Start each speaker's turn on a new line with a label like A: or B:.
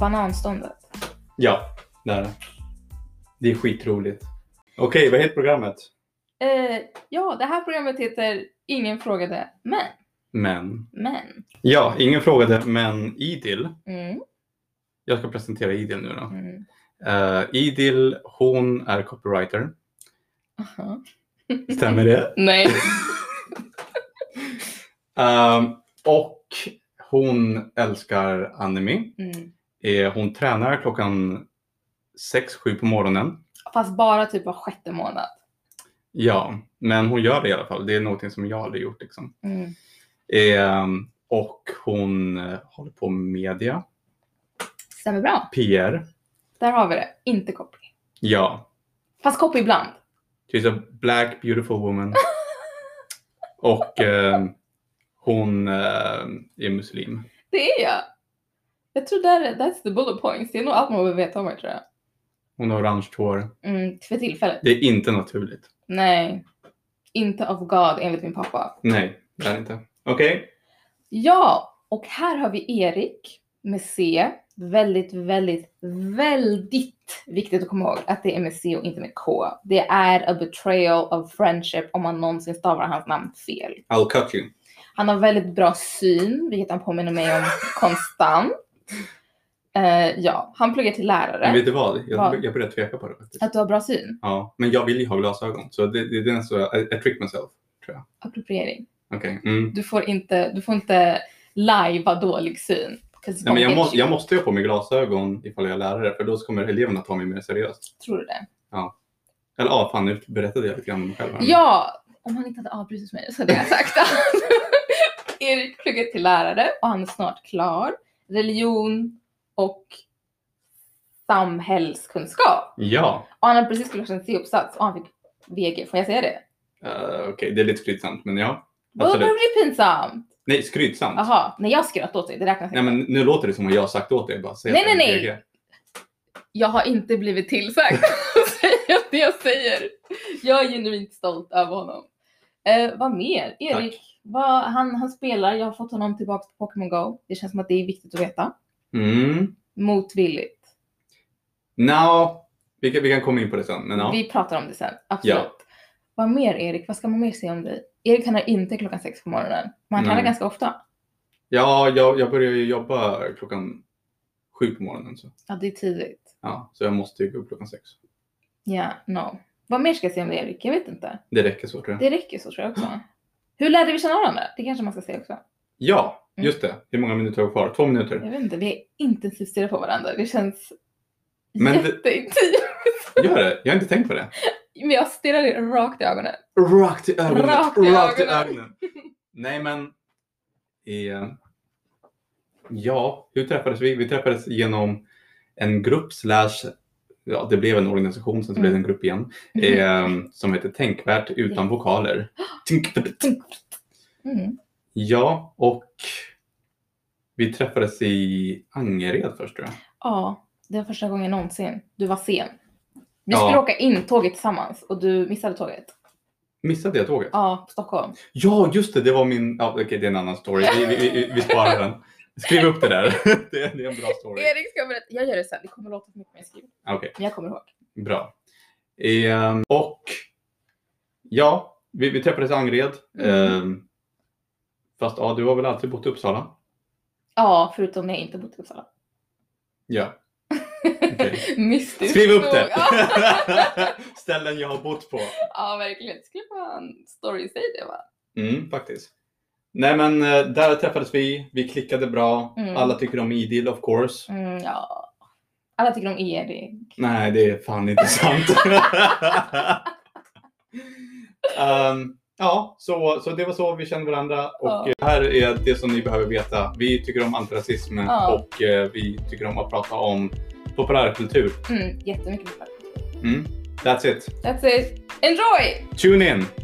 A: Bananståndet.
B: Ja, det är det. Det är skitroligt. Okej, vad heter programmet?
A: Eh, ja, det här programmet heter Ingen frågade men.
B: Men.
A: Men.
B: Ja, ingen frågade, men Idil.
A: Mm.
B: Jag ska presentera Idil nu då.
A: Mm.
B: Eh, Idil, hon är copywriter.
A: Aha.
B: Stämmer det?
A: Nej.
B: Ehm, och hon älskar anime.
A: Mm.
B: Eh, hon tränar klockan 6-7 på morgonen.
A: Fast bara typ var sjätte månad.
B: Ja, men hon gör det i alla fall. Det är någonting som jag aldrig gjort. Liksom.
A: Mm.
B: Ehm, och hon eh, håller på med media,
A: Stämmer bra.
B: PR.
A: Där har vi det. Inte copy.
B: Ja,
A: Fast copy ibland.
B: she's a black beautiful woman. och ehm, hon eh, är muslim.
A: Det är jag. Jag tror där, that's the bullet points. Det är nog allt man behöver veta om mig tror jag.
B: Hon har orange hår.
A: Mm, för tillfället.
B: Det är inte naturligt.
A: Nej. Inte of God enligt min pappa.
B: Nej, det är det inte. Okej.
A: Ja, och här har vi Erik med C. Väldigt, väldigt, väldigt viktigt att komma ihåg att det är med C och inte med K. Det är a betrayal of friendship om man någonsin stavar hans namn fel.
B: I'll cut you.
A: Han har väldigt bra syn, vilket han påminner mig om konstant. Eh, ja, han pluggar till
B: Men vet
A: lärare.
B: du vad? Jag,
A: Vad?
B: jag börjar tveka på det faktiskt.
A: Att du har bra syn?
B: Ja, men jag vill ju ha glasögon. Så det, det, det är en så, I, I trick myself.
A: Appropriering.
B: Okej. Mm.
A: Du får inte, du får inte lajva dålig syn. 'Cause it's
B: Nej, men jag,
A: gonna
B: må,
A: get you.
B: jag måste ju ha på mig glasögon ifall jag är lärare för då kommer eleverna ta mig mer seriöst.
A: Tror du det?
B: Eller ja, fan nu berättade jag lite grann om mig själv. här.
A: Ja! Om han inte hade avbrutit mig så hade jag sagt att Erik pluggar till lärare och han är snart klar. Religion och samhällskunskap.
B: Ja,
A: Och han har precis klart sin C-uppsats och han fick VG. Får jag säga det?
B: Eh, okej det är lite skrytsamt men ja.
A: Då
B: Absolut.
A: blir det pinsamt.
B: Nej, skrytsamt.
A: Jaha, när jag skrattade åt dig, det räknas
B: Nej
A: inte.
B: men nu låter det som att jag har sagt åt dig bara. säg
A: Nej,
B: att jag
A: nej,
B: är
A: nej.
B: VG.
A: Jag har inte blivit tillsagd att säga det jag säger. Jag är genuint stolt över honom. Eh, vad mer? Erik, vad, han, han spelar, jag har fått honom tillbaka till Pokémon Go. Det känns som att det är viktigt att veta.
B: Mm.
A: Motvilligt.
B: Now. Vi kan, vi kan komma in på det sen. Men ja.
A: Vi pratar om det sen, absolut.
B: Ja.
A: Vad mer Erik? Vad ska man mer säga om dig? Erik han är inte klockan sex på morgonen. Men han kan
B: Nej.
A: det ganska ofta.
B: Ja, jag, jag börjar ju jobba klockan sju på morgonen. Så,
A: Ja, det är tidigt.
B: ja, så jag måste ju gå upp klockan sex.
A: Ja, no. Vad mer ska jag säga om dig Erik? Jag vet inte.
B: Det räcker så tror jag.
A: Det räcker så tror jag också. Hur lärde vi känna varandra? Det kanske man ska säga också.
B: Ja,
A: Mm.
B: just det. Hur många minuter har vi kvar? Två minuter.
A: Jag vet inte, vi är intensivt stirrar på varandra. Det känns
B: Men det-
A: jätteintimt.
B: Gör det. Jag har inte tänkt på det.
A: Men jag stirrar dig rakt i ögonen.
B: Rakt i ögonen.
A: Rakt i ögonen.
B: Nej, men. Eh, ja, hur träffades vi? Vi träffades genom en grupp slash Ja, det blev en organisation, sen så blev det en
A: Mm.
B: grupp igen, eh, som heter Tänkvärt utan vokaler. Tänkvärt.
A: Mm.
B: Ja, och vi träffades i Angered först tror jag.
A: Ja, det var första gången någonsin. Du var sen. Vi
B: Ja.
A: skulle åka in tåget tillsammans och du missade tåget.
B: Missade jag tåget?
A: Ja, på Stockholm.
B: Ja, just det. Det var min... Ja, Okej, det är en annan story. Vi, vi, vi, vi sparar den. Skriv upp det där. Det är, det är en bra story.
A: Erik ska berätta. Jag gör det sen. Det kommer låta för mycket mer skrivet.
B: Okej,
A: Men jag kommer ihåg.
B: bra. Ehm, och ja, vi, vi träffades i Angered. Ehm, fast ja, du har väl alltid bott i Uppsala?
A: Ja, förutom när jag inte bodde i Uppsala.
B: Ja. Okej.
A: Mystiskt
B: Skriv upp
A: nog.
B: det!
A: Ja.
B: Ställen jag har bott på.
A: ja, verkligen. Det skulle vara en story i sig det va?
B: Mm, faktiskt. Nej men eh, där träffades vi, vi klickade bra.
A: Mm.
B: Alla tycker om Idil of course.
A: Mm, ja. Alla tycker om Erik.
B: Nej, det är fan inte sant. Ehm, ja, så, så det var så vi kände varandra. Och
A: Ja.
B: eh, här är det som ni behöver veta. Vi tycker om antirasism
A: Ja.
B: och eh, vi tycker om att prata om populärkultur.
A: Mm, jättemycket.
B: Mm. That's it.
A: That's it. Enjoy!
B: Tune in!